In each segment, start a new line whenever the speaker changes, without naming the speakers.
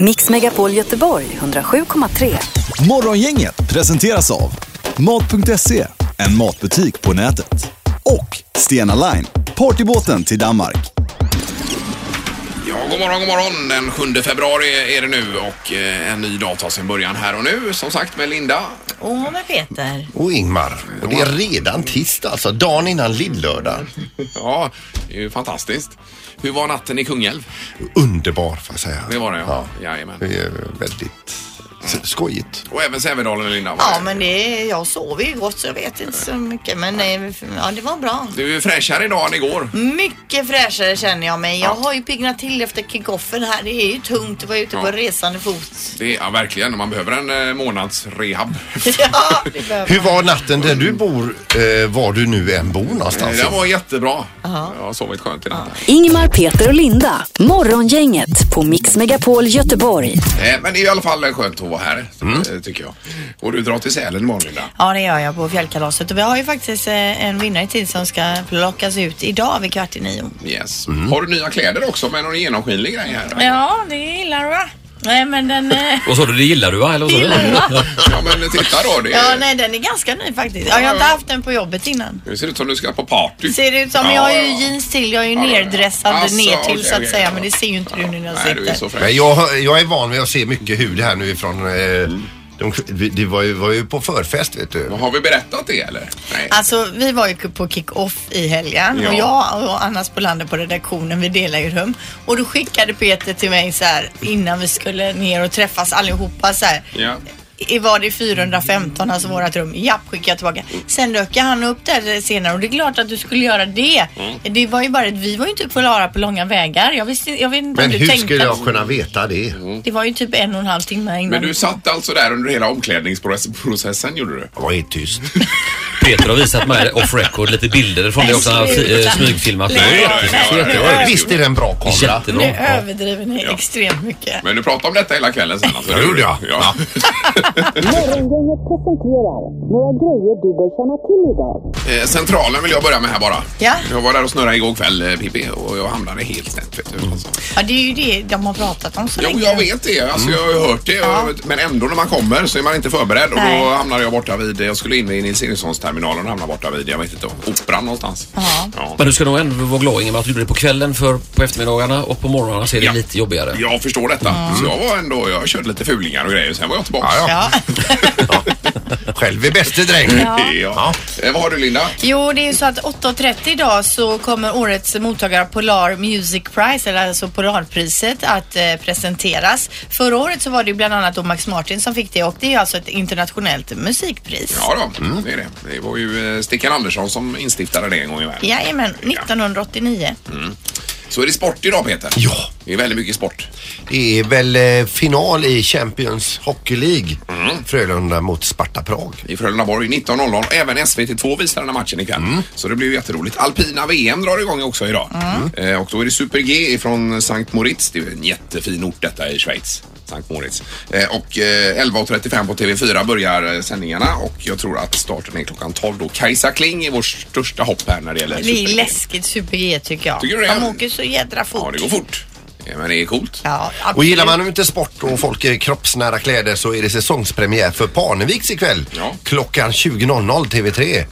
Mix Megapol Göteborg 107,3.
Morgongänget presenteras av Mat.se, en matbutik på nätet. Och Stena Line, partybåten till Danmark.
Ja, god morgon, god morgon. Den 7 februari är det nu och eh, en ny dag tar sin början här och nu. Som sagt med Linda.
Åh, med Peter.
Och Ingmar. Och det är redan tisdag alltså, dagen innan lillördag.
Ja, det är ju fantastiskt. Hur var natten i Kungälv?
Underbar får jag säga.
Det var det, ja. Jajamän.
Det är väldigt s- skojigt.
Och även Sävedalen, Linda. var
Ja,
det.
men det, jag sover ju gott så jag vet inte så mycket. Men nej, ja, det var bra.
Du är fräschare idag än igår.
Mycket fräschare känner jag mig. Jag har ju piggnat till efter kickoffen här. Det är ju tungt att vara ute på
Ja.
resande fot.
Det är ja, verkligen, man behöver en eh, månads rehab.
Ja, det behöver
Hur var natten där du bor, eh, var du nu än bor någonstans?
Det var jättebra.
Ja.
Jag har sovit skönt i natt.
Ingmar, Peter och Linda. Morgongänget på Mix Megapol Göteborg.
Eh, Men det är i alla fall skönt att vara här, eh, tycker jag. Och du drar till Sälen imorgon, Linda.
Ja, det gör jag på fjällkalaset. Och vi har ju faktiskt eh, en vinnare till som ska plockas ut idag vid kvart i nio.
Yes. Har du nya kläder också med någon genomskinlig grej här?
Ja, det gillar du va? Nej men den... eh,
Vad sa du, det gillar du va? Eller vad sa du?
Ja, men titta då. Det
Ja, nej, den är ganska ny faktiskt. Ja, jag har inte haft den på jobbet innan.
Nu ser det ut som du ska på party.
Ser det ut som,
Ja,
jag har ju
ja.
jeans till, jag är ju
Ja, ja, ja.
nerdressad
Alltså,
ner till
okej,
så att
okej,
säga.
ja.
Men det ser ju inte du nu när jag
Nej, du är
sitter.
så fräsch.
Men jag, jag är van vid att se mycket hud här nu ifrån... Eh, de, det var ju, var ju på förfest vet du.
Har vi berättat det eller? Nej.
Alltså vi var ju på kick-off i helgen
Ja.
och jag och Anna Spolander på redaktionen vi delar ju rum och då skickade Peter till mig så här innan vi skulle ner och träffas allihopa så här.
Ja.
I- Var det 415, alltså vårat rum? Japp, skickade jag tillbaka. Sen dök han upp där senare och det är klart att du skulle göra det.
Mm.
Det var ju bara att vi var ju inte klara på långa vägar. Jag visste jag vet inte
Men
om du
hur
tänkte.
skulle jag kunna veta det?
Mm.
Det var ju typ en och en halv timme innan.
Men du satt alltså där under hela omklädningsprocessen gjorde du?
Jag var helt tyst.
Peter har visat mig off record lite bilder från det också. Han har fi- eh, smygfilmat.
Nej, nej,
Visst är det en bra kamera?
Jättebra.
nu
Ja.
överdriver ni
Ja.
extremt mycket.
Men du pratade om detta hela kvällen sen alltså?
Ja, det gjorde jag.
Ja.
Morgongänget presenterar några grejer du bör känna till idag.
Eh, Centralen vill jag börja med här bara.
Ja.
Jag var där och snurrade igår kväll eh, Pippi och jag hamnade helt snett vet
Mm.
du. Alltså.
Ja, det är ju det de har pratat om så
Jo,
länge.
jag vet det. Alltså, Jag
Mm.
har ju hört det. Och- Men ändå när man kommer så är man inte förberedd och då
Nej.
hamnade jag borta vid, jag skulle in i Nils Erikssonsterminalen och hamnade borta vid, jag vet inte, Operan någonstans.
Ja.
Ja.
Men du ska nog ändå vara glad Ingemar att du gjorde det på kvällen för på eftermiddagarna och på morgonen så är det
Ja.
lite jobbigare.
Jag förstår detta. Så jag var ändå, jag körde lite fulingar och grejer sen var jag tillbaka.
Ja,
Ja.
Själv är bäste dräng.
Ja. Eh, vad har du Linda?
Jo, det är ju så att 8.30 idag så kommer årets mottagare av Polar Music Prize, eller alltså Polarpriset, att eh, presenteras. Förra året så var det ju bland annat då Max Martin som fick det och det är alltså ett internationellt musikpris.
Ja då, Mm. det är det. Det var ju eh, Stickan Andersson som instiftade det en gång i världen.
Jajamän, 1989.
Så är det sport idag Peter.
Ja.
Det är väldigt mycket sport.
Det är väl eh, final i Champions Hockey League.
Mm.
Frölunda mot Sparta Prag.
I Frölunda Borg 19.00. Även SVT2 visar den här matchen ikväll. Så det blir ju jätteroligt. Alpina VM drar igång också idag. Eh, och då är det Super-G från Sankt Moritz. Det är ju en jättefin ort detta i Schweiz. Sankt Moritz. Eh, och eh, 11.35 på TV4 börjar eh, sändningarna och jag tror att starten är klockan 12 då. Kajsa Kling är vårt största hopp här när det gäller
Det är
Super-G.
läskigt Super-G tycker jag.
Tycker du det?
De åker så jädra fort.
Ja, det går fort. Eh, Men det är coolt.
Ja, absolut.
Och gillar man nu inte sport och folk i kroppsnära kläder så är det säsongspremiär för Parneviks ikväll.
Ja. Mm.
Klockan 20.00 TV3.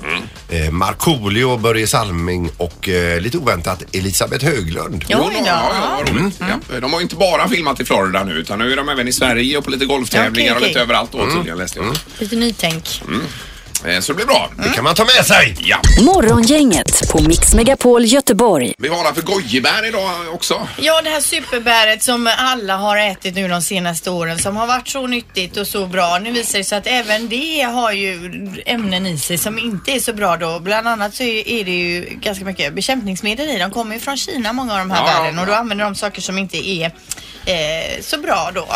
Eh, Markoolio, Börje Salming och eh, lite oväntat Elisabeth Höglund.
Jo,
ja,
idag.
ja, vad roligt. Ja, de har ju inte bara filmat i Florida nu utan nu är de även i Sverige och på lite golftävlingar
Ja, okej,
och lite
okej.
överallt då tydligen läste jag.
Lite nytänk.
Eh, Så det blir bra.
Mm.
Det kan man ta med sig!
Ja.
Morgongänget på Mix Megapol Göteborg.
Vi varnar för gojibär idag också.
Ja, det här superbäret som alla har ätit nu de senaste åren som har varit så nyttigt och så bra. Nu visar det sig att även det har ju ämnen i sig som inte är så bra då. Bland annat så är är det ju ganska mycket bekämpningsmedel i. De kommer ju från Kina många av de här
Ja, ja,
bären och då
ja.
använder de saker som inte är Eh, så bra då.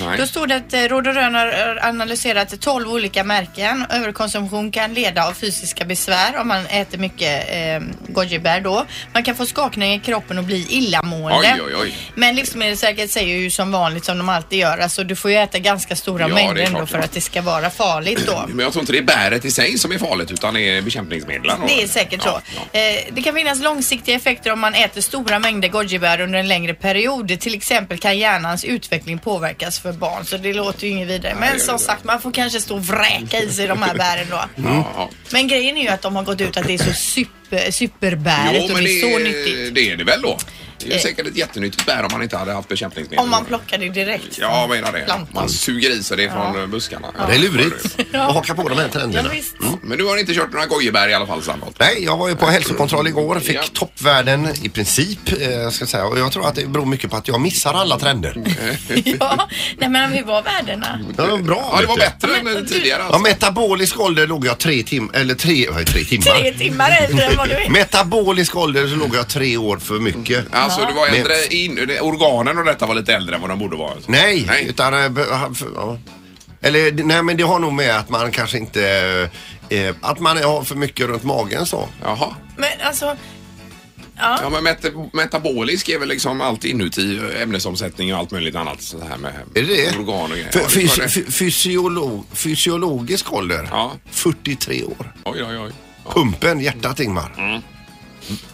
Nej.
Då står det att eh, Råd och Rön har eh, analyserat 12 olika märken. Överkonsumtion överkonsumtion kan leda av fysiska besvär om man äter mycket eh, gojibär då. Man kan få skakningar i kroppen och bli illamående.
Oj, oj, oj.
Men Livsmedelsverket säger ju som vanligt som de alltid gör, alltså du får ju äta ganska stora
Ja, det är
mängder ändå
klart,
för
ja.
att det ska vara farligt då.
Men jag tror inte det är bäret i sig som är farligt utan det är bekämpningsmedlen. då.
Det är säkert så.
Ja, ja.
Eh, Det kan finnas långsiktiga effekter om man äter stora mängder gojibär under en längre period. Till exempel kan hjärnans utveckling påverkas för barn. Så det låter ju inget vidare.
Nej, det
Men
gör
som
det.
sagt, man får kanske stå och vräka i sig de här bären då.
Ja, ja.
Men grejen är ju att de har gått ut att det är så super, superbäret och det är så nyttigt.
det är det väl då. Det är ju
Eh.
säkert ett jättenyttigt bär om man inte hade haft bekämpningsmedel.
Om man plockar det direkt.
Ja, jag menar det.
plantan.
Man suger i sig det från eh, buskarna.
Det är lurigt att haka på de här
Ja,
trenderna.
visst.
Men du har inte kört några gojibär i alla fall, Sandholt?
Nej, jag var ju på hälsokontroll igår, fick
Ja.
toppvärden i princip. eh, ska jag säga. Och jag tror att det beror mycket på att jag missar alla trender.
Ja, nej men vi var värdena.
Ja, det var bra.
Mm. Ja, det var
vet du.
bättre än eh, tidigare
Ja,
alltså.
metabolisk ålder låg jag tre timmar, eller tre, vad är tre
Tre
timmar?
timmar äldre än vad du är.
Metabolisk ålder så låg jag tre år för mycket.
Alltså, du var
Men-
äldre in, organen och detta var lite äldre än vad de borde vara. alltså.
Nej,
Nej.
utan... eh, be- ha- för- ja. Eller nej men det har nog med att man kanske inte... Eh, att man har för mycket runt magen så.
Jaha.
Men alltså,
Ja, men met- metabolisk är väl liksom allt inuti eh, ämnesomsättning och allt möjligt annat. Så här med
Är det det?
organ och grejer.
För,
Ja, det var
fys-
det.
fy- fysiolo- fysiologisk ålder,
Ja.
43 år.
Oj, oj, oj.
Pumpen, hjärtat Ingmar.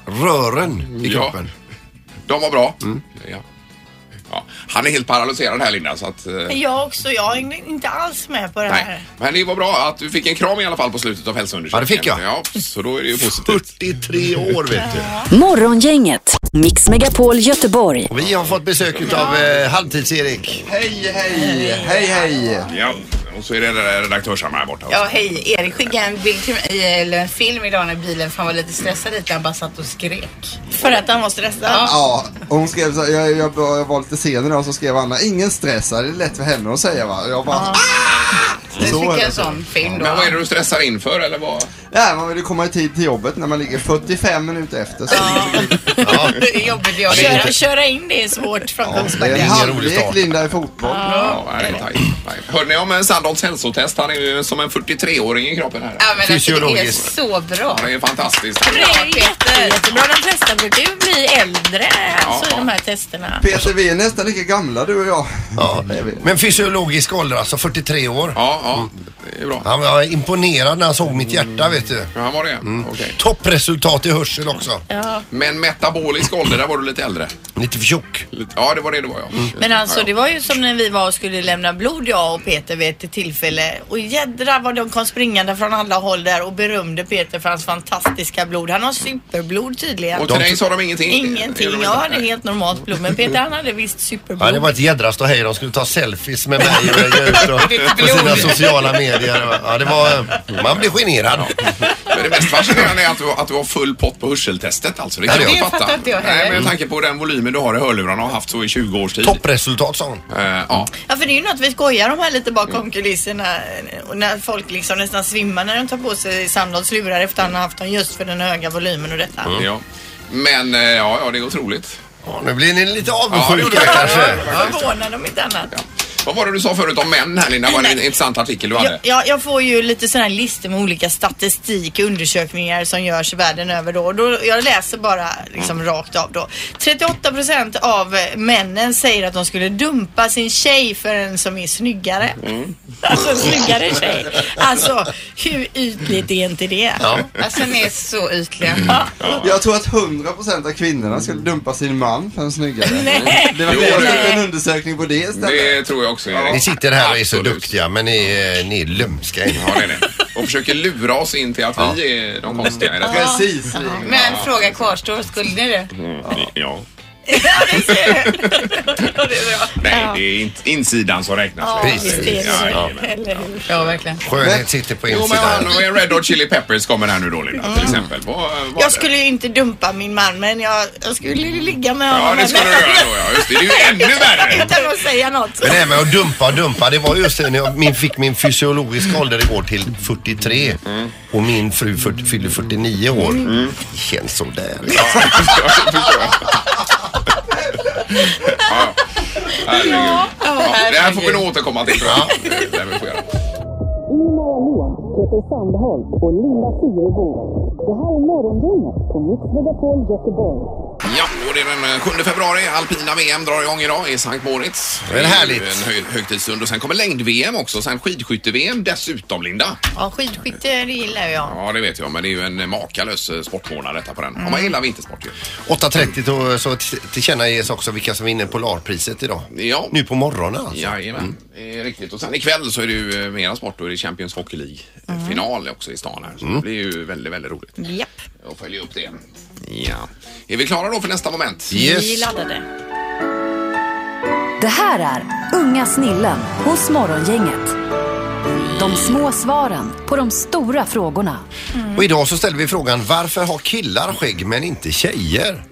Rören i
Mm. Ja.
kroppen.
De var bra.
Mm.
Ja. Ja. Han är helt paralyserad här Linda så att... eh,
jag också. Jag hängde inte alls med på det här.
Nej, men det var bra att du fick en kram i alla fall på slutet av hälsoundersökningen.
Ja, det fick jag.
Ja, så då är det ju positivt.
43 år vet du.
Morgongänget, Mix Megapol Göteborg.
Och vi har fått besök av eh, Halvtids-Erik.
Hej, hej, hej, hej.
Ja, och så är det redaktörsarna här borta.
Ja, hej. Erik skickade en bild till mig, eller en film idag när bilen, för han var lite stressad lite, han bara satt och skrek.
För att han var stressad.
Ja, och hon skrev så här, jag, jag, jag var lite sen idag så skrev Anna, ingen stress här, det är lätt för henne att säga va. Och Jag bara, ah.
Nu
Så är
fick jag
det.
en sån film då.
Men vad är det du stressar inför eller vad?
Nej, man vill ju komma i tid till jobbet när man ligger 45 minuter efter. Så
Ja. det är jobbigt jag det.
Köra, köra in det är svårt från
det är
Kungsbacka.
en
ingen rolig
halvlek
start.
Linda i fotboll.
Ja, nej, nej, nej. Hörde ni om eh, Sandholts hälsotest? Han är ju som en 43-åring i kroppen här.
Ja, men alltså, det är
Fysiologiskt.
så bra.
Han är fantastisk.
Det är jätte, jättebra. De flesta brukar ju bli äldre alltså,
Ja.
i de här testerna.
Peter, vi är nästan lika gamla du och jag.
Ja.
Det är vi.
Men fysiologisk ålder, alltså 43 år.
Ja, ja, det är bra.
Han var imponerad när han såg mitt hjärta vet du.
Ja, han var det? Mm.
Mm.
Okej.
Toppresultat i hörsel också.
Ja.
Men metabolisk ålder, där var du lite äldre.
Lite för tjock.
Lite- Ja, det var det du var ja.
Men alltså
ja,
det var ju som när vi var och skulle lämna blod jag och Peter vid ett tillfälle. Och jädra vad de kom springande från alla håll där och berömde Peter för hans fantastiska blod. Han har superblod tydligen.
Och till dig sa de ingenting? Gjorde
Ingenting.
de
Jag
inte?
hade helt normalt blod. Men Peter han hade visst superblod.
Ja, det var ett jädra ståhej. De skulle ta selfies med mig och lägga ut på- på sina sociala medier. Ja, det var, man blir generad.
Men det mest fascinerande är att du, att du har full pott på hörseltestet alltså. Det kan
Ja,
jag
det
inte fatta.
fattar inte jag heller.
Nej, men med tanke på den volymen du har i hörlurarna och har haft så i 20 års tid.
Toppresultat sa hon.
Eh, ja.
Ja för det är ju något vi skojar om här lite bakom kulisserna. Och när folk liksom nästan svimmar när de tar på sig Sandholts lurar efter han har haft dem just för den höga volymen och detta.
ja. Men eh, ja, ja, det är otroligt.
Ja, nu blir ni lite
Ja, det gjorde
avundsjuka
vi.
kanske.
Förvånad om inte annat.
Ja. Vad var det du sa förut om män här Linda? Det var en intressant artikel du hade.
Jag, jag, jag får ju lite sådana här listor med olika statistik och undersökningar som görs världen över då. Och då jag läser bara liksom rakt av då. 38 procent av eh, männen säger att de skulle dumpa sin tjej för en som är snyggare. Alltså en snyggare tjej. Alltså hur ytligt är inte det?
Alltså ni är så ytliga.
Jag tror att 100% av kvinnorna skulle dumpa sin man för en snyggare.
Nej.
Det var
Jo,
det.
det-
en undersökning på det istället.
Det tror jag också Erik.
Ni sitter här och är så
Absolut.
duktiga men ni, är- ni är lömska.
Ja, det är det. Och försöker lura oss in till att vi är de konstiga i detta.
Precis.
Men frågan kvarstår, skulle ni det?
Mm, Ja.
Ja, det är bra.
Nej, det är in- insidan som räknas.
Ja,
Precis.
visst är det.
Ja,
Eller hur?
Ja, verkligen.
Skönhet sitter på
Jo, men han
insidan.
och en Red Hot Chili Peppers kommer här nu då Linda till exempel. Vad, vad
Mm. Jag skulle ju inte dumpa min man men jag, jag skulle ligga med honom.
Ja, det skulle du göra då ja. Just det, det är ju ännu värre.
Utan att säga något.
Men det här med att dumpa och dumpa, det var just det när jag min, fick min fysiologiska ålder igår till 43 och min fru 40, fyller 49 år. Det känns sådär.
Herregud. Ja, det här får vi nog återkomma till. tror jag. Det lär vi få göra.
Ingemar Ahlén, Peter Sandholt och Linda Fyrebo. Det här är Morgongänget på Mix Megapol Göteborg.
Ja, och det är den eh, 7 februari. Alpina VM drar igång idag i Sankt Moritz.
Det är härligt.
ju En hög, högtidsstund. Och sen kommer längd-VM också. Sen skidskytte-VM dessutom, Linda.
Ja, skidskytte det gillar jag.
Ja, det vet jag. Men det är ju en makalös eh, sportmånad detta på den. Om man gillar vintersport ju.
8.30 då, så t- tillkännages också vilka som vinner Polarpriset idag.
Ja.
Nu på morgonen alltså.
Jajamän, det är riktigt. Och sen ikväll så är det ju eh, mera sport. Då är det Champions Hockey League-final också i stan här. Så det blir ju väldigt, väldigt roligt
Japp,
att följa upp det. Ja. Är vi klara då för nästa moment?
vi
Yes.
laddade.
Det här är Unga snillen hos Morgongänget. De små svaren på de stora frågorna.
Och idag så ställer vi frågan varför har killar skägg men inte tjejer?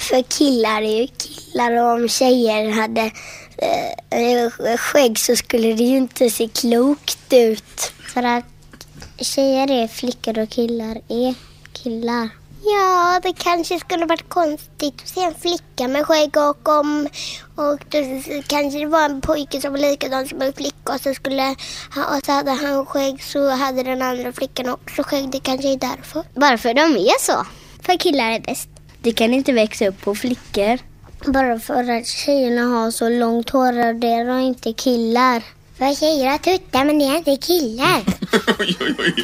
För killar är ju killar och om tjejer hade eh, skägg så skulle det ju inte se klokt ut. För att tjejer är flickor och killar är killar. Ja, det kanske skulle varit konstigt att se en flicka med skägg och om och då kanske det var en pojke som var likadan som en flicka och så, skulle, ha- och så hade han skägg så hade den andra flickan också skägg. Det kanske är därför. Varför de är så? För killar är bäst. Det kan inte växa upp på flickor. Bara för att tjejerna har så långt hår och det är inte killar. För tjejer har tuttar men det är inte killar.
oj, oj, oj.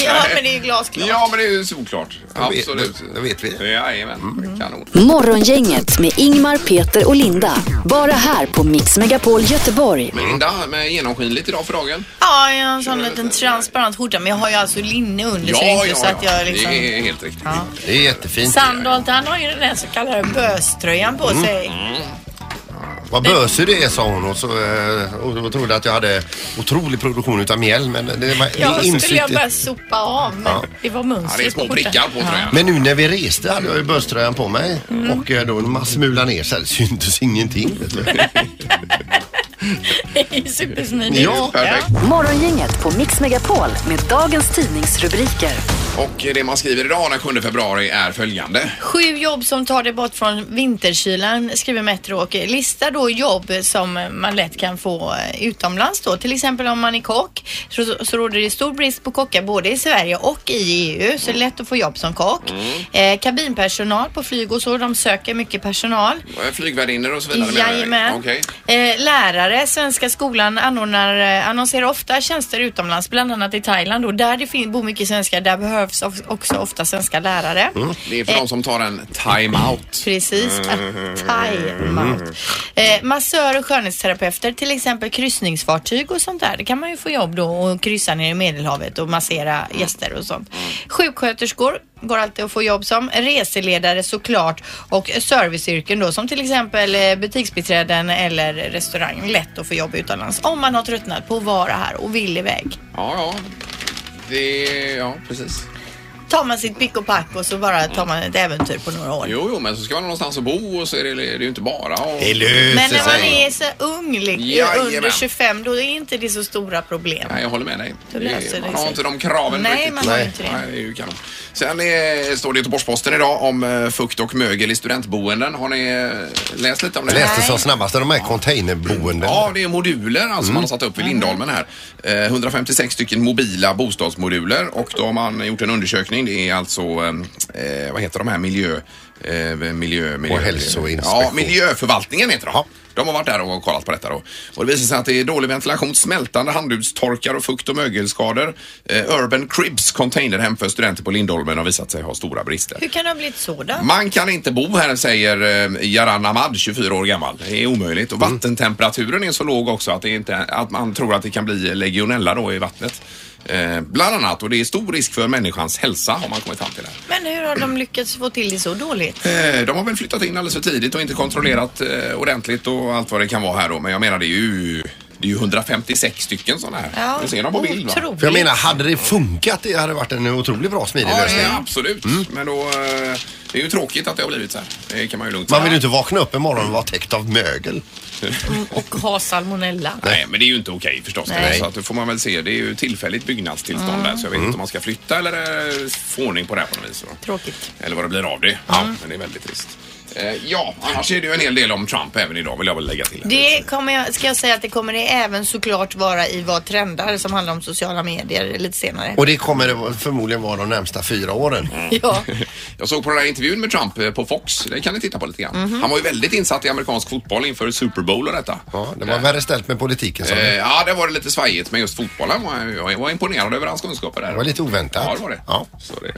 Ja, men det är ju glasklart.
Ja, men det är ju solklart.
vet-
Absolut.
det vet vi. Mm.
Jajamän, Mm. kanon.
Morgongänget med Ingmar, Peter och Linda. Bara här på Mix Megapol Göteborg.
Mm.
Men Linda, med genomskinligt idag för dagen.
Ja, jag har en sån liten transparent skjorta men jag har ju alltså linne under så, det är inte så att jag liksom...
Det är helt riktigt. Ja.
Det är jättefint.
Sandholt han har ju den där så kallade böströjan på
Mm.
sig.
Vad bösig det är sa hon och så eh, och då trodde att jag hade otrolig produktion utav mjäll men det var
Ja,
det
så skulle jag
insyltet.
bara sopa av men
Ja.
det var
det är
mönstret
små prickar på tröjan.
Men nu när vi reste hade jag ju böströjan på mig och eh, då när man smulade ner så här, det syntes ingenting. vet du.
Det är ju supersmidigt.
Ja,
Perfekt.
Morgongänget på Mix Megapol med dagens tidningsrubriker.
Och det man skriver idag den 7 februari är följande.
Sju jobb som tar dig bort från vinterkylan skriver Metro och listar då jobb som man lätt kan få eh, utomlands då. Till exempel om man är kock så, så råder det stor brist på kockar både i Sverige och i EU så det är lätt att få jobb som kock.
Mm.
Eh, kabinpersonal på flyg och så, de söker mycket personal.
Flygvärdinnor och så vidare. menar jag.
Jajamän.
Okej.
Eh, lärare, Svenska skolan anordnar, eh, annonserar ofta tjänster utomlands, bland annat i Thailand och där det fin- bor mycket svenskar, där behövs of- också ofta svenska lärare.
Det är för de som tar en time-out.
Precis. Thai-mat. Eh, massör och skönhetsterapeuter, till exempel kryssningsfartyg och sånt där. Det kan man ju få jobb då och kryssa ner i Medelhavet och massera gäster och sånt. Sjuksköterskor går alltid att få jobb som. Reseledare såklart och serviceyrken då som till exempel eh, butiksbiträden eller restaurang. Lätt att få jobb utomlands om man har tröttnat på att vara här och vill iväg.
Ja, ja. Det, ja, precis.
Tar man sitt pick och pack och så bara tar man ett äventyr på några år.
Jo, jo, men så ska man någonstans att bo och så är det, det är ju inte bara och...
det löser
Men när man
sig.
är så ung, li- eh,
Jajamän.
under 25, då är inte det så stora problem.
Nej, jag håller med dig.
Då
Det-
löser
man
det
har
sig.
inte de kraven
Nej,
riktigt.
man har Nej. inte det.
Nej, är ju kanon. Sen eh, står det i Göteborgs-Posten idag om eh, fukt och mögel i studentboenden. Har ni eh, läst lite om det?
Läste som snabbast de här containerboenden.
Ja, det är moduler alltså man har
Mm.
satt upp vid Lindholmen här. Eh, 156 stycken mobila bostadsmoduler och då har man gjort en undersökning. Det är alltså, eh, vad heter de här, miljö... Eh, miljö, miljö
Och hälsoinspektion.
Ja, miljöförvaltningen heter de. De har varit där och kollat på detta då. Och det visar sig att det är dålig ventilation, smältande handdukstorkar och fukt och mögelskador. Eh, Urban Cribs, containerhem för studenter på Lindholmen, har visat sig ha stora brister.
Hur kan det ha blivit så då?
Man kan inte bo här säger eh, Jaran Ahmad, 24 år gammal. Det är omöjligt.
Mm.
Och vattentemperaturen är så låg också att, det inte, att man tror att det kan bli legionella då i vattnet. Eh, bland annat, och det är stor risk för människans hälsa har man kommit fram till. Här.
Men hur har de lyckats få till det så dåligt?
Eh, de har väl flyttat in alldeles för tidigt och inte kontrollerat eh, ordentligt och allt vad det kan vara här då. Men jag menar det är ju, det är ju 156 stycken sådana här. du ser dem på bild va?
För jag menar, hade det funkat det hade varit en otroligt bra smidig
Ja,
lösning.
ja, absolut.
Mm.
Men då, eh, det är ju tråkigt att det har blivit så här. Det kan man ju lugnt säga.
Man vill ju inte vakna upp imorgon och vara täckt av mögel.
Och ha salmonella.
Nej, men det är ju inte okej förstås.
Nej.
Så att det får man väl se. Det är ju tillfälligt byggnadstillstånd
Mm.
där så jag vet inte om man ska flytta eller eh, få ordning på det här på något vis. då.
Tråkigt.
Eller vad det blir av det. Ja, men det är väldigt trist. Eh, ja, annars är det ju en hel del om Trump även idag vill jag väl lägga till. här.
Det kommer jag, ska jag säga att det kommer det även såklart vara i Vad trendar som handlar om sociala medier lite senare.
Och det kommer det förmodligen vara de närmsta fyra åren.
Mm.
Ja,
Jag såg på den här intervjun med Trump eh, på Fox. Det kan ni titta på lite grann.
Mhm.
Han var ju väldigt insatt i amerikansk fotboll inför Super Bowl och detta.
Ja, det var värre ställt med politiken. sa
Eh,
du.
ja, det var det lite svajigt, men just fotbollen var jag, jag var imponerad över hans kunskaper där.
Det var lite oväntat.
Ja, det var det.
Ja.
Så det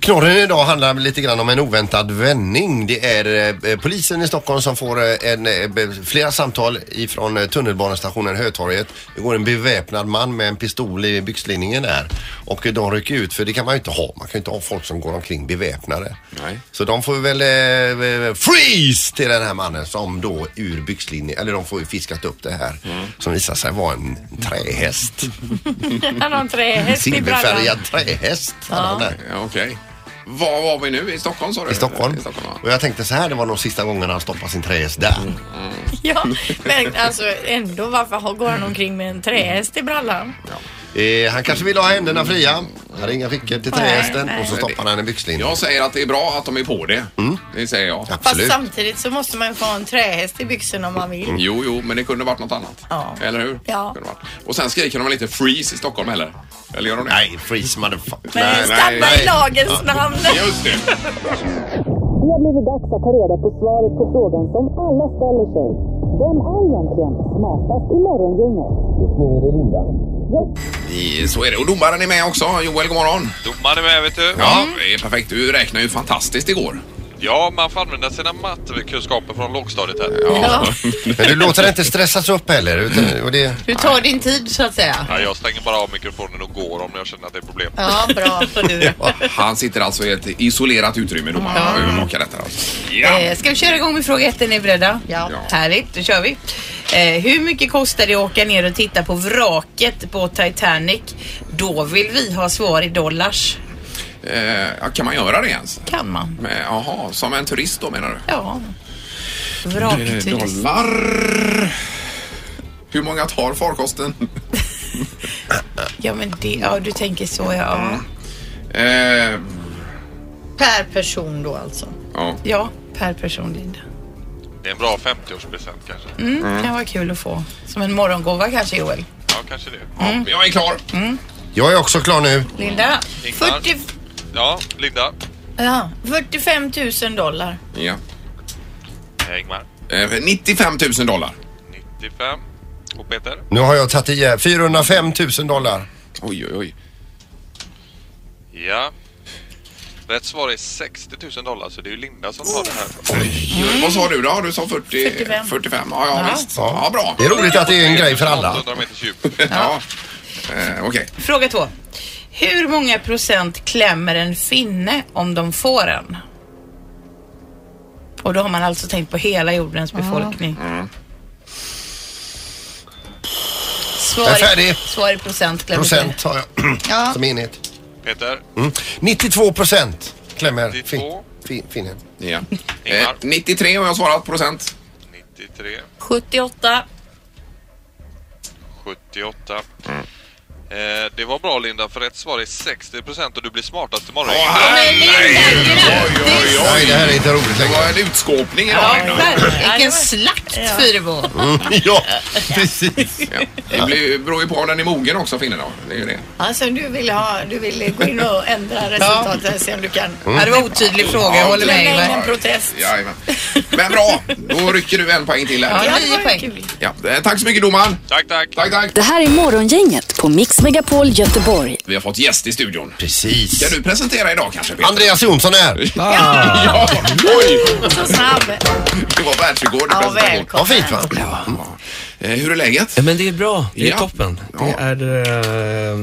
Knorren idag handlar lite grann om en oväntad vändning. Det är eh, polisen i Stockholm som får eh, en, eh, be- flera samtal ifrån eh, tunnelbanestationen Hötorget. Det går en beväpnad man med en pistol i byxlinningen där och eh, de rycker ut för det kan man ju inte ha. Man kan ju inte ha folk som går omkring beväpnade.
Nej.
Så de får väl eh, eh, freeze till den här mannen som då ur byxlinjen, eller de får ju fiskat upp det här
Mm.
som visar sig vara en trähäst.
han har en trähäst i brallan.
Silverfärgad trähäst. hade han där.
Ja, Okej. Var var vi nu? I Stockholm sa du?
I Stockholm.
I Stockholm ja.
Och jag tänkte så här, det var nog sista gången han stoppade sin trähäst där.
Ja, men alltså ändå varför har- går han omkring med en trähäst i brallan?
Eh, han kanske ville ha händerna fria. Han hade inga fickor till trähästen
nej.
och så stoppade han en byxlinje.
Jag säger att det är bra att de är på det. Det säger jag.
Fast
Absolut.
samtidigt så måste man ju få ha en trähäst i byxorna om man vill.
Jo, jo, men det kunde varit något annat.
Ja.
Eller hur?
Ja.
Kunde varit. Och sen skriker de väl inte freeze i Stockholm heller? Eller gör de det?
Nej, freeze motherfucker.
Men
Nej, nej,
stanna
nej.
i lagens namn!
Just det.
Det har blivit dags att ta reda på svaret på frågan som alla ställer sig. Vem är egentligen smartast i morgongänget?
I- Så är det. Och domaren är med också. Joel, god morgon.
Domaren är med, vet du.
Ja, det är perfekt. Du räknade ju fantastiskt igår.
Ja, man får använda sina mattekunskaper från lågstadiet här.
Ja,
Men du låter det inte stressas upp heller. Utan,
Mm.
och det,
du tar din tid så att säga.
Ja, jag stänger bara av mikrofonen och går om jag känner att det är problem.
Ja, bra för du.
Han sitter alltså i ett isolerat utrymme, domaren, och övervakar detta. Alltså.
Eh, Ska vi köra igång med fråga ett? Är ni beredda?
Ja.
Härligt, då kör vi. Eh, hur mycket kostar det att åka ner och titta på vraket på Titanic? Då vill vi ha svar i dollars.
Eh, ja, kan man göra det ens?
Kan man?
Men, Jaha, som en turist då menar du?
Ja.
Eh,
Vrakturist.
Dollar. Hur många tar farkosten?
Ja, men det, ja, du tänker så ja.
Eh,
Per person då alltså.
ja.
Ja, per person Linda.
Det är en bra 50-årspresent kanske.
Mm, Kan vara kul att få. Som en morgongåva kanske Joel. Mm.
Ja, kanske det.
Ja, Jag är klar.
jag är också klar nu.
Linda?
Ingmar?
40,
Ja, Linda.
ja, 45 000 dollar.
Ja.
Eh, Ingmar.
Eh, 95 000 dollar.
95. Och Peter.
Nu har jag tagit igen 405 000 dollar.
Oj, oj, oj.
Ja. Rätt svar är 60 000 dollar, så det är ju Linda som tar det här.
Vad sa du då? Du sa 40,
45.
45. Ja, ja, visst. Ja, bra.
Det är roligt att det är en grej för alla.
800 meters djup.
Ja. Eh, Okej.
Fråga två. Hur många procent klämmer en finne om de får en? Och då har man alltså tänkt på hela jordens befolkning.
Jag
Svar,
är färdig.
i, svar i procent klämmer
Procent har jag som enhet.
Peter.
Mm. 92 procent klämmer
92.
fin, fin, finnen.
Ja. Eh,
Ingmar.
93 har jag svarat procent.
93.
78.
78. Eh, det var bra Linda, för rätt svar är 60 procent och du blir smartast imorgon.
Åh, herregud! Oj, oj, oj.
Nej, det här är inte roligt
Det var
längre.
en utskåpning idag.
procent. Ja,
Linda.
verkligen. Vilken slakt Fyrebo.
Ja, precis.
Det blir- beror ju på om den är mogen också, finnen. då. Det är ju det.
Alltså du vill, ha, du vill gå in och ändra resultatet här, se om du kan.
Mm.
Ja, det var otydlig fråga, jag håller med
Lägg in
Ingvar.
en protest.
Jajamän. Men bra, då rycker du en poäng till här.
Ja,
det var
nio
ju
poäng.
kul.
Ja. eh, Tack så mycket domaren.
Tack, tack.
Tack, tack.
Det här är morgongänget på Mix Megapol Göteborg.
Vi har fått gäst i studion.
Precis.
Ska du presentera idag kanske Peter?
Andreas Jonsson här.
Ja, oj!
Så snabb.
Det var världsrekord i
Ja,
presentation.
välkommen.
Vad fint va?
Ja. Eh, Hur är läget?
Men det är bra. Det är
Ja.
toppen. Det
Ja.
är eh,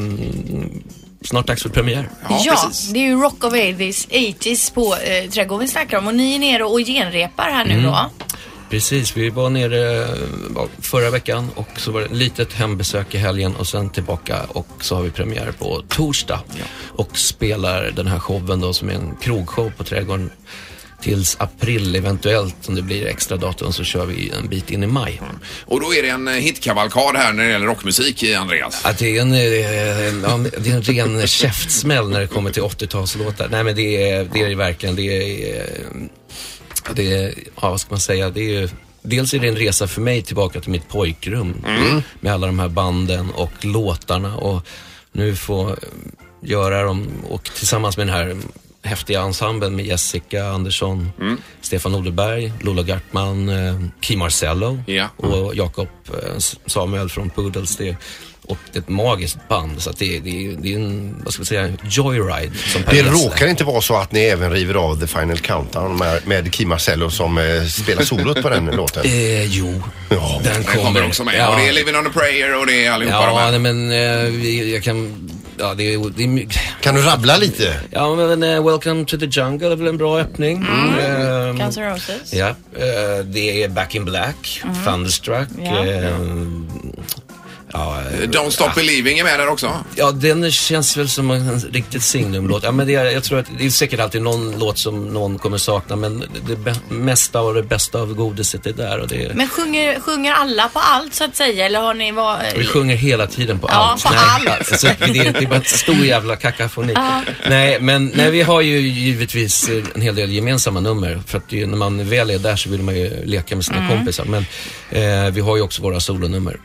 snart dags för premiär.
Ja,
precis.
det är ju Rock of Ages 80s på eh, Trädgården vi snackar om och ni är nere och genrepar här nu
Mm.
då.
Precis, vi var nere eh, ja, förra veckan och så var det ett litet hembesök i helgen och sen tillbaka och så har vi premiär på torsdag och spelar den här showen då som är en krogshow på Trädgården tills april eventuellt om det blir extra datum så kör vi en bit in i maj.
Och då är det en eh, hitkavalkad här när det gäller rockmusik, eh, Andreas.
Att det, är en, eh, ja, det är en ren käftsmäll när det kommer till 80-talslåtar. Nej men det är det, är det verkligen. Det är, eh, Det är, ja, vad ska man säga, det är ju Dels är det en resa för mig tillbaka till mitt pojkrum
Mm.
med alla de här banden och låtarna och nu få göra dem och tillsammans med den här häftiga ensemblen med Jessica Andersson,
Mm.
Stefan Odelberg, Lola Gartman, eh, Kim Marcello
Ja. Mm.
och Jakob eh, S- Samuel från Poodles. Det, och det är ett magiskt band så att det, det, det är en, vad ska vi säga, joyride. Som Per
Det
Gessle.
råkar inte vara så att ni även river av The Final Countdown med, med Kim Marcello som eh, spelar solot på den låten.
Eh, jo,
Ja.
den
Den
kommer.
kommer också med. Och det är Living on a prayer och det är allihopa de
Ja,
här.
nej, men eh, vi- jag kan... Ja, det är... Det är my-
Kan du rabbla lite?
ja, men eh, Welcome to the Jungle är väl en bra öppning. Ehm,
Guns N' Roses.
ja, eh, det är Back in Black, Thunderstruck.
Ja.
ehm, ja, eh,
Don't Stop Believing är med där också.
ja, den känns väl som en riktigt signumlåt. Ja, men det är, jag tror att det är säkert alltid någon låt som någon kommer sakna, men det be- mesta och det bästa av godiset är där. Och det är,
Men sjunger, sjunger alla på allt så att säga? Eller har ni var...
Vi sjunger hela tiden på
Ja,
allt.
på
nej,
allt.
Alltså, det, är- det är bara en stor jävla kakafoni. Nej, men nej, vi har ju givetvis eh, en hel del gemensamma nummer. För att det, är ju- när man väl är där så vill man ju leka med
Mm.
sina kompisar. Men eh, vi har ju också våra solonummer.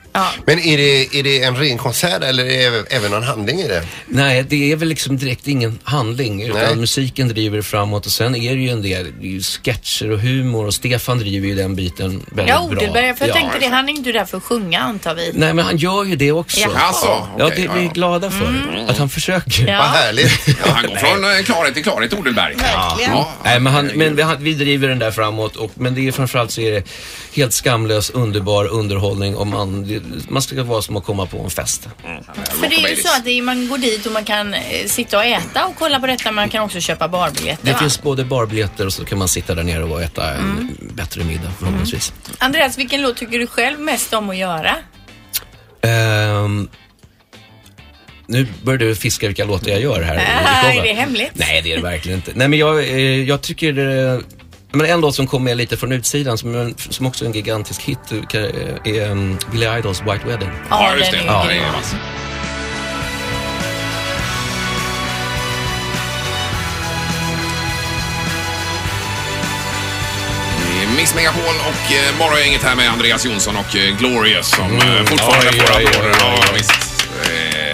Men är det, är det en ren konsert eller är det även någon handling i det?
Nej, det är väl liksom direkt ingen handling. Utan
Nej.
musiken driver framåt och sen är det ju en del det är ju sketcher och humor och Stefan driver ju den biten väldigt
Ja,
bra.
Odelberg. För jag
Ja. alltså.
tänkte det, han är inte där för att sjunga antar vi.
Nej, men han gör ju det också.
Ja. Mm.
Alltså,
Ja,
okej,
det
ja,
vi
ja.
är glada för. Att han försöker.
Vad
Ja.
härligt.
Ja, han går från eh, klarhet till klarhet, Odelberg.
Verkligen.
Ja.
Nej, men, han, men vi, han, vi driver den där framåt, och, men det är framförallt så är det helt skamlös, underbar underhållning. Och man, det, man ska vara som att komma på en fest.
För det är ju så att det är, man går dit och man kan eh, sitta och äta och kolla på detta. Men man kan också köpa barbiljetter.
Det
va?
finns både barbiljetter och så kan man sitta där nere och äta en
Mm.
bättre middag förhoppningsvis.
Andreas, vilken låt tycker du själv mest om att göra?
Ehm, nu börjar du fiska vilka låtar jag gör här.
Nej, det är hemligt.
Nej, det är det verkligen inte. Nej, men jag, eh, jag tycker... eh, Men en låt som kom med lite från utsidan, som, som också är en gigantisk hit, eh, är um, Billy Idols White Wedding.
Ja, just det.
den är-
Ja, det är vass. Det är Mix Megapol och eh, Morgongänget här med Andreas Jonsson och eh, Glorious som eh, fortfarande
Mm. Oj,
får
oj, oj,
applåder.
oj,
Ja,
oj.
visst.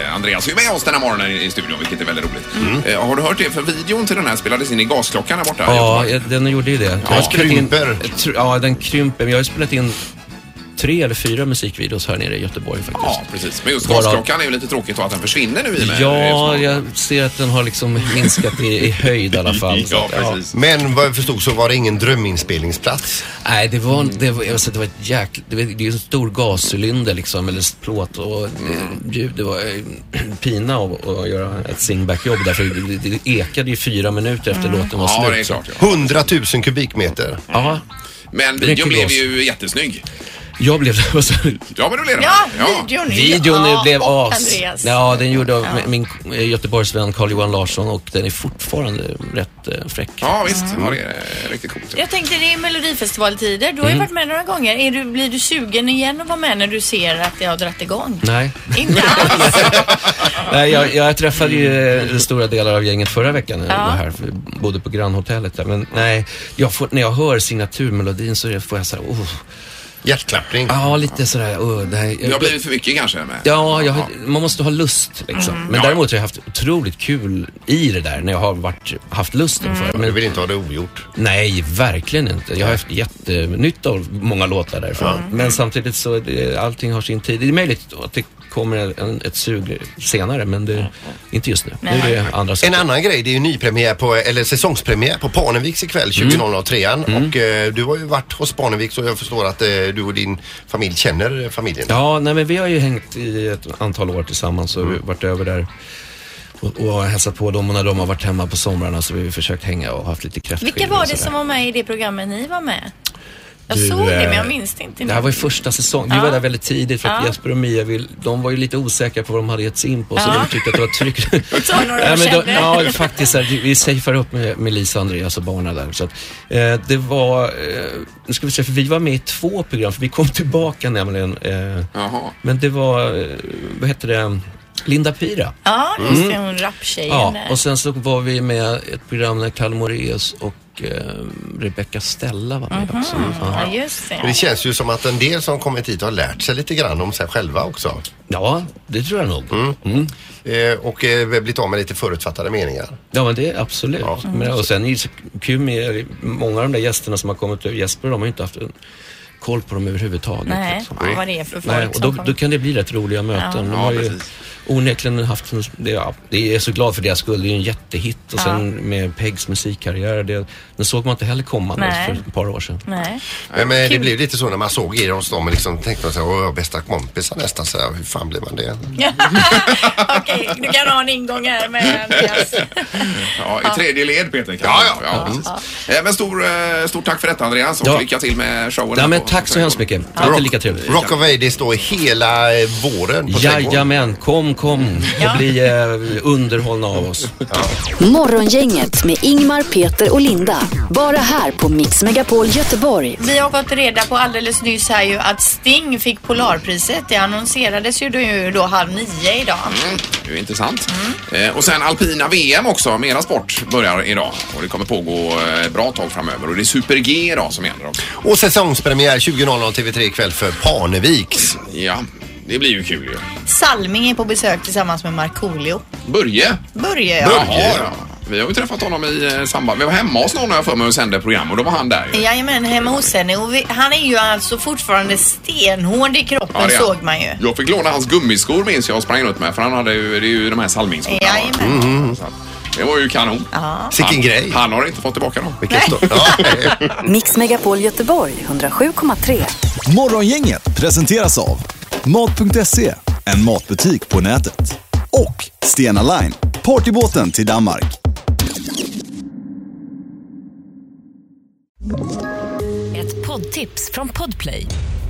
Eh, Andreas är ju med oss den här morgonen i i studion, vilket är väldigt roligt. Eh, har du hört det? För videon till den här spelades in i gasklockan här borta. i
Mm. Ja,
Göteborg.
jag- den gjorde ju det. Jag har spelat
krymper.
In, tr- ja, den krymper. Men jag har ju spelat in tre eller fyra musikvideos här nere i Göteborg faktiskt.
ja, precis. Men just
Bara-
gasklockan är ju lite tråkigt då att den försvinner nu i och med.
Ja, jag ser att den har liksom minskat i, i höjd i alla fall. Så
Ja,
att,
precis.
Men vad jag förstod så var det ingen dröminspelningsplats.
Nej, det var,
Mm.
det var, alltså, det var ett jäkla... Det, var- det är ju en stor gascylinder liksom, eller plåt och eh, ljud. Det var eh, pina att att göra ett singbackjobb där, för det, det ekade ju fyra minuter efter låten var
Mm. Ja,
slut.
det är
så-
klart. ja.
100 000 kubikmeter.
Ja,
Men
Det
videon
räcker
blev
glas.
ju jättesnygg.
jag blev... så-
Ja, men det blev den.
Ja, videon.
Videon
Ja,
blev
och
as.
Andreas.
Ja, den gjorde av min eh, Göteborgsvän Carl-Johan Larsson och den är fortfarande rätt eh, fräck.
Ja, visst. Ja, det är eh, riktigt coolt.
Jag tänkte det är melodifestivaltider. Du har ju
Mm.
varit med några gånger. Är du, blir du sugen igen att vara med när du ser att det har dragit igång?
Nej.
Inte alls.
Nej, jag, jag träffade ju eh, stora delar av gänget förra veckan när jag
Ja.
var här. för Vi bodde på grannhotellet där. Men nej, jag får, när jag hör signaturmelodin så är det- får jag såhär, oh,
Hjärtklappning.
ja lite sådär, oh, nej.
Det har blivit för mycket kanske. Med.
Ja, jag, har- man måste ha lust liksom.
Mm.
Men
Ja.
däremot har jag haft otroligt kul i det där när jag har varit, haft lusten för det.
Mm.
Men du
Men
vill inte ha det ogjort.
Nej, verkligen inte. Jag har haft jättenytta av många låtar därifrån. Men samtidigt så, är det, allting har sin tid. Det är möjligt att det kommer en, ett sug senare, men det,
Mm.
inte just nu. Nu är det andra
En
saker.
annan grej, det är ju nypremiär på, eller säsongspremiär på Parneviks ikväll
Mm.
20.03 och eh, du har ju varit hos Parneviks och jag förstår att eh, du och din familj känner eh, familjen.
Ja, nej men vi har ju hängt i ett antal år tillsammans och
Mm.
varit över där och, och hälsat på dem och när de har varit hemma på somrarna så har vi försökt hänga och haft lite kräftskivor
Vilka var
och
det
sådär.
som var med i det programmet ni var med? Jag
Du,
såg det men jag
eh,
minns det inte.
Det här var ju första säsongen. Vi
Ja.
var där väldigt tidigt för att
Ja.
Jesper och Mia vill, de var ju lite osäkra på vad de hade gett sig in på så de tyckte att det var tryggt.
Så några
Ja, men då,
kände.
ja, faktiskt. så här, Vi safear upp med, med Lisa, Andreas och barnen där. Så att, eh, det var, eh, nu ska vi se, för vi var med i två program, för vi kom tillbaka nämligen. Eh,
Jaha.
men det var, eh, vad heter det, Linda Pira.
Ja, just det. Hon rapptjejen
Mm. Ja,
där.
och sen så var vi med i ett program när Kalle Moraeus och och eh, Rebecca Stella var med också. Ja.
Ja, just det.
Men det känns ju som att en del som kommit hit har lärt sig lite grann om sig själva också. Mm.
ja, det tror jag nog. Mm.
Eh, och eh, blivit av med lite förutfattade meningar.
Ja, men det är absolut. Men, och sen är det så kul med många av de där gästerna som har kommit ut. Jesper de har ju inte haft en koll på dem överhuvudtaget.
Nej,
liksom.
vad det är för folk
Nej, och då,
som
då kan det bli rätt roliga möten. De har ju onekligen haft en, det, ja, det är så glad för deras skull. Det är ju en jättehit och sen med Pegs musikkarriär. Det, den såg man inte heller komma nu
Nej.
för ett par år segen.
Nej.
Men, men det blev lite så när man såg er hos dem och liksom tänkte man så här, åh, jag har bästa kompisar nästan så här, hur fan blir man det?
Okej, du kan ha en ingång här med Andreas.
Ja, i tredje led Peter. kan
Ja,
man-
ja, ja.
precis. Eh, Men stor, eh, stort tack för detta Andreas och
Ja.
lycka till med showen.
Ja, men
Och-
tack så hemskt mycket. Alltid lika trevligt.
Rock of Ages står hela eh, våren på Trädgården.
Jajamän, kom, kom och bli eh, underhållna av oss.
Morgongänget med Ingmar, Peter och Linda. Bara här på Mix Megapol Göteborg.
Vi har fått reda på alldeles nyss här ju att Sting fick Polarpriset. Det annonserades ju då, ju då halv nio idag.
Mm, det är intressant. Eh, och sen alpina VM också, mera sport, börjar idag. Och det kommer pågå eh, bra tag framöver. Och det är Super-G idag som gäller också.
Och säsongspremiär 20.00 TV3 ikväll för Parneviks.
Ja, det blir ju kul ju.
Salming är på besök tillsammans med Markoolio.
Börje.
Börje
Jaha,
ja.
ja. Vi har ju träffat honom i eh, samband. Vi var hemma hos någon har jag för mig och sände program och då var han där. ju.
Jajamän, hemma hos henne. Och vi, han är ju alltså fortfarande stenhård i kroppen
Ja, det är han.
såg man ju.
Jag fick låna hans gummiskor minns jag och sprang runt med för han hade ju, det är ju de här salmingskorna.
Jajamän.
Så att Det var ju kanon.
Sicken grej.
Han har inte fått tillbaka dem.
Vilken stor... Ja.
Mix Megapol Göteborg 107,3.
Morgongänget presenteras av Mat.se, en matbutik på nätet. Och Stena Line, partybåten till Danmark.
Ett poddtips från Podplay.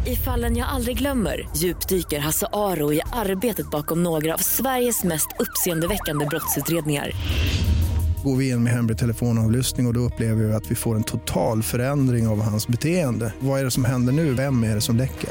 I fallen jag aldrig glömmer djupdyker Hasse Aro i arbetet bakom några av Sveriges mest uppseendeväckande brottsutredningar.
Går vi in med hemlig telefonavlyssning och, och då upplever vi att vi får en total förändring av hans beteende. Vad är det som händer nu? Vem är det som läcker?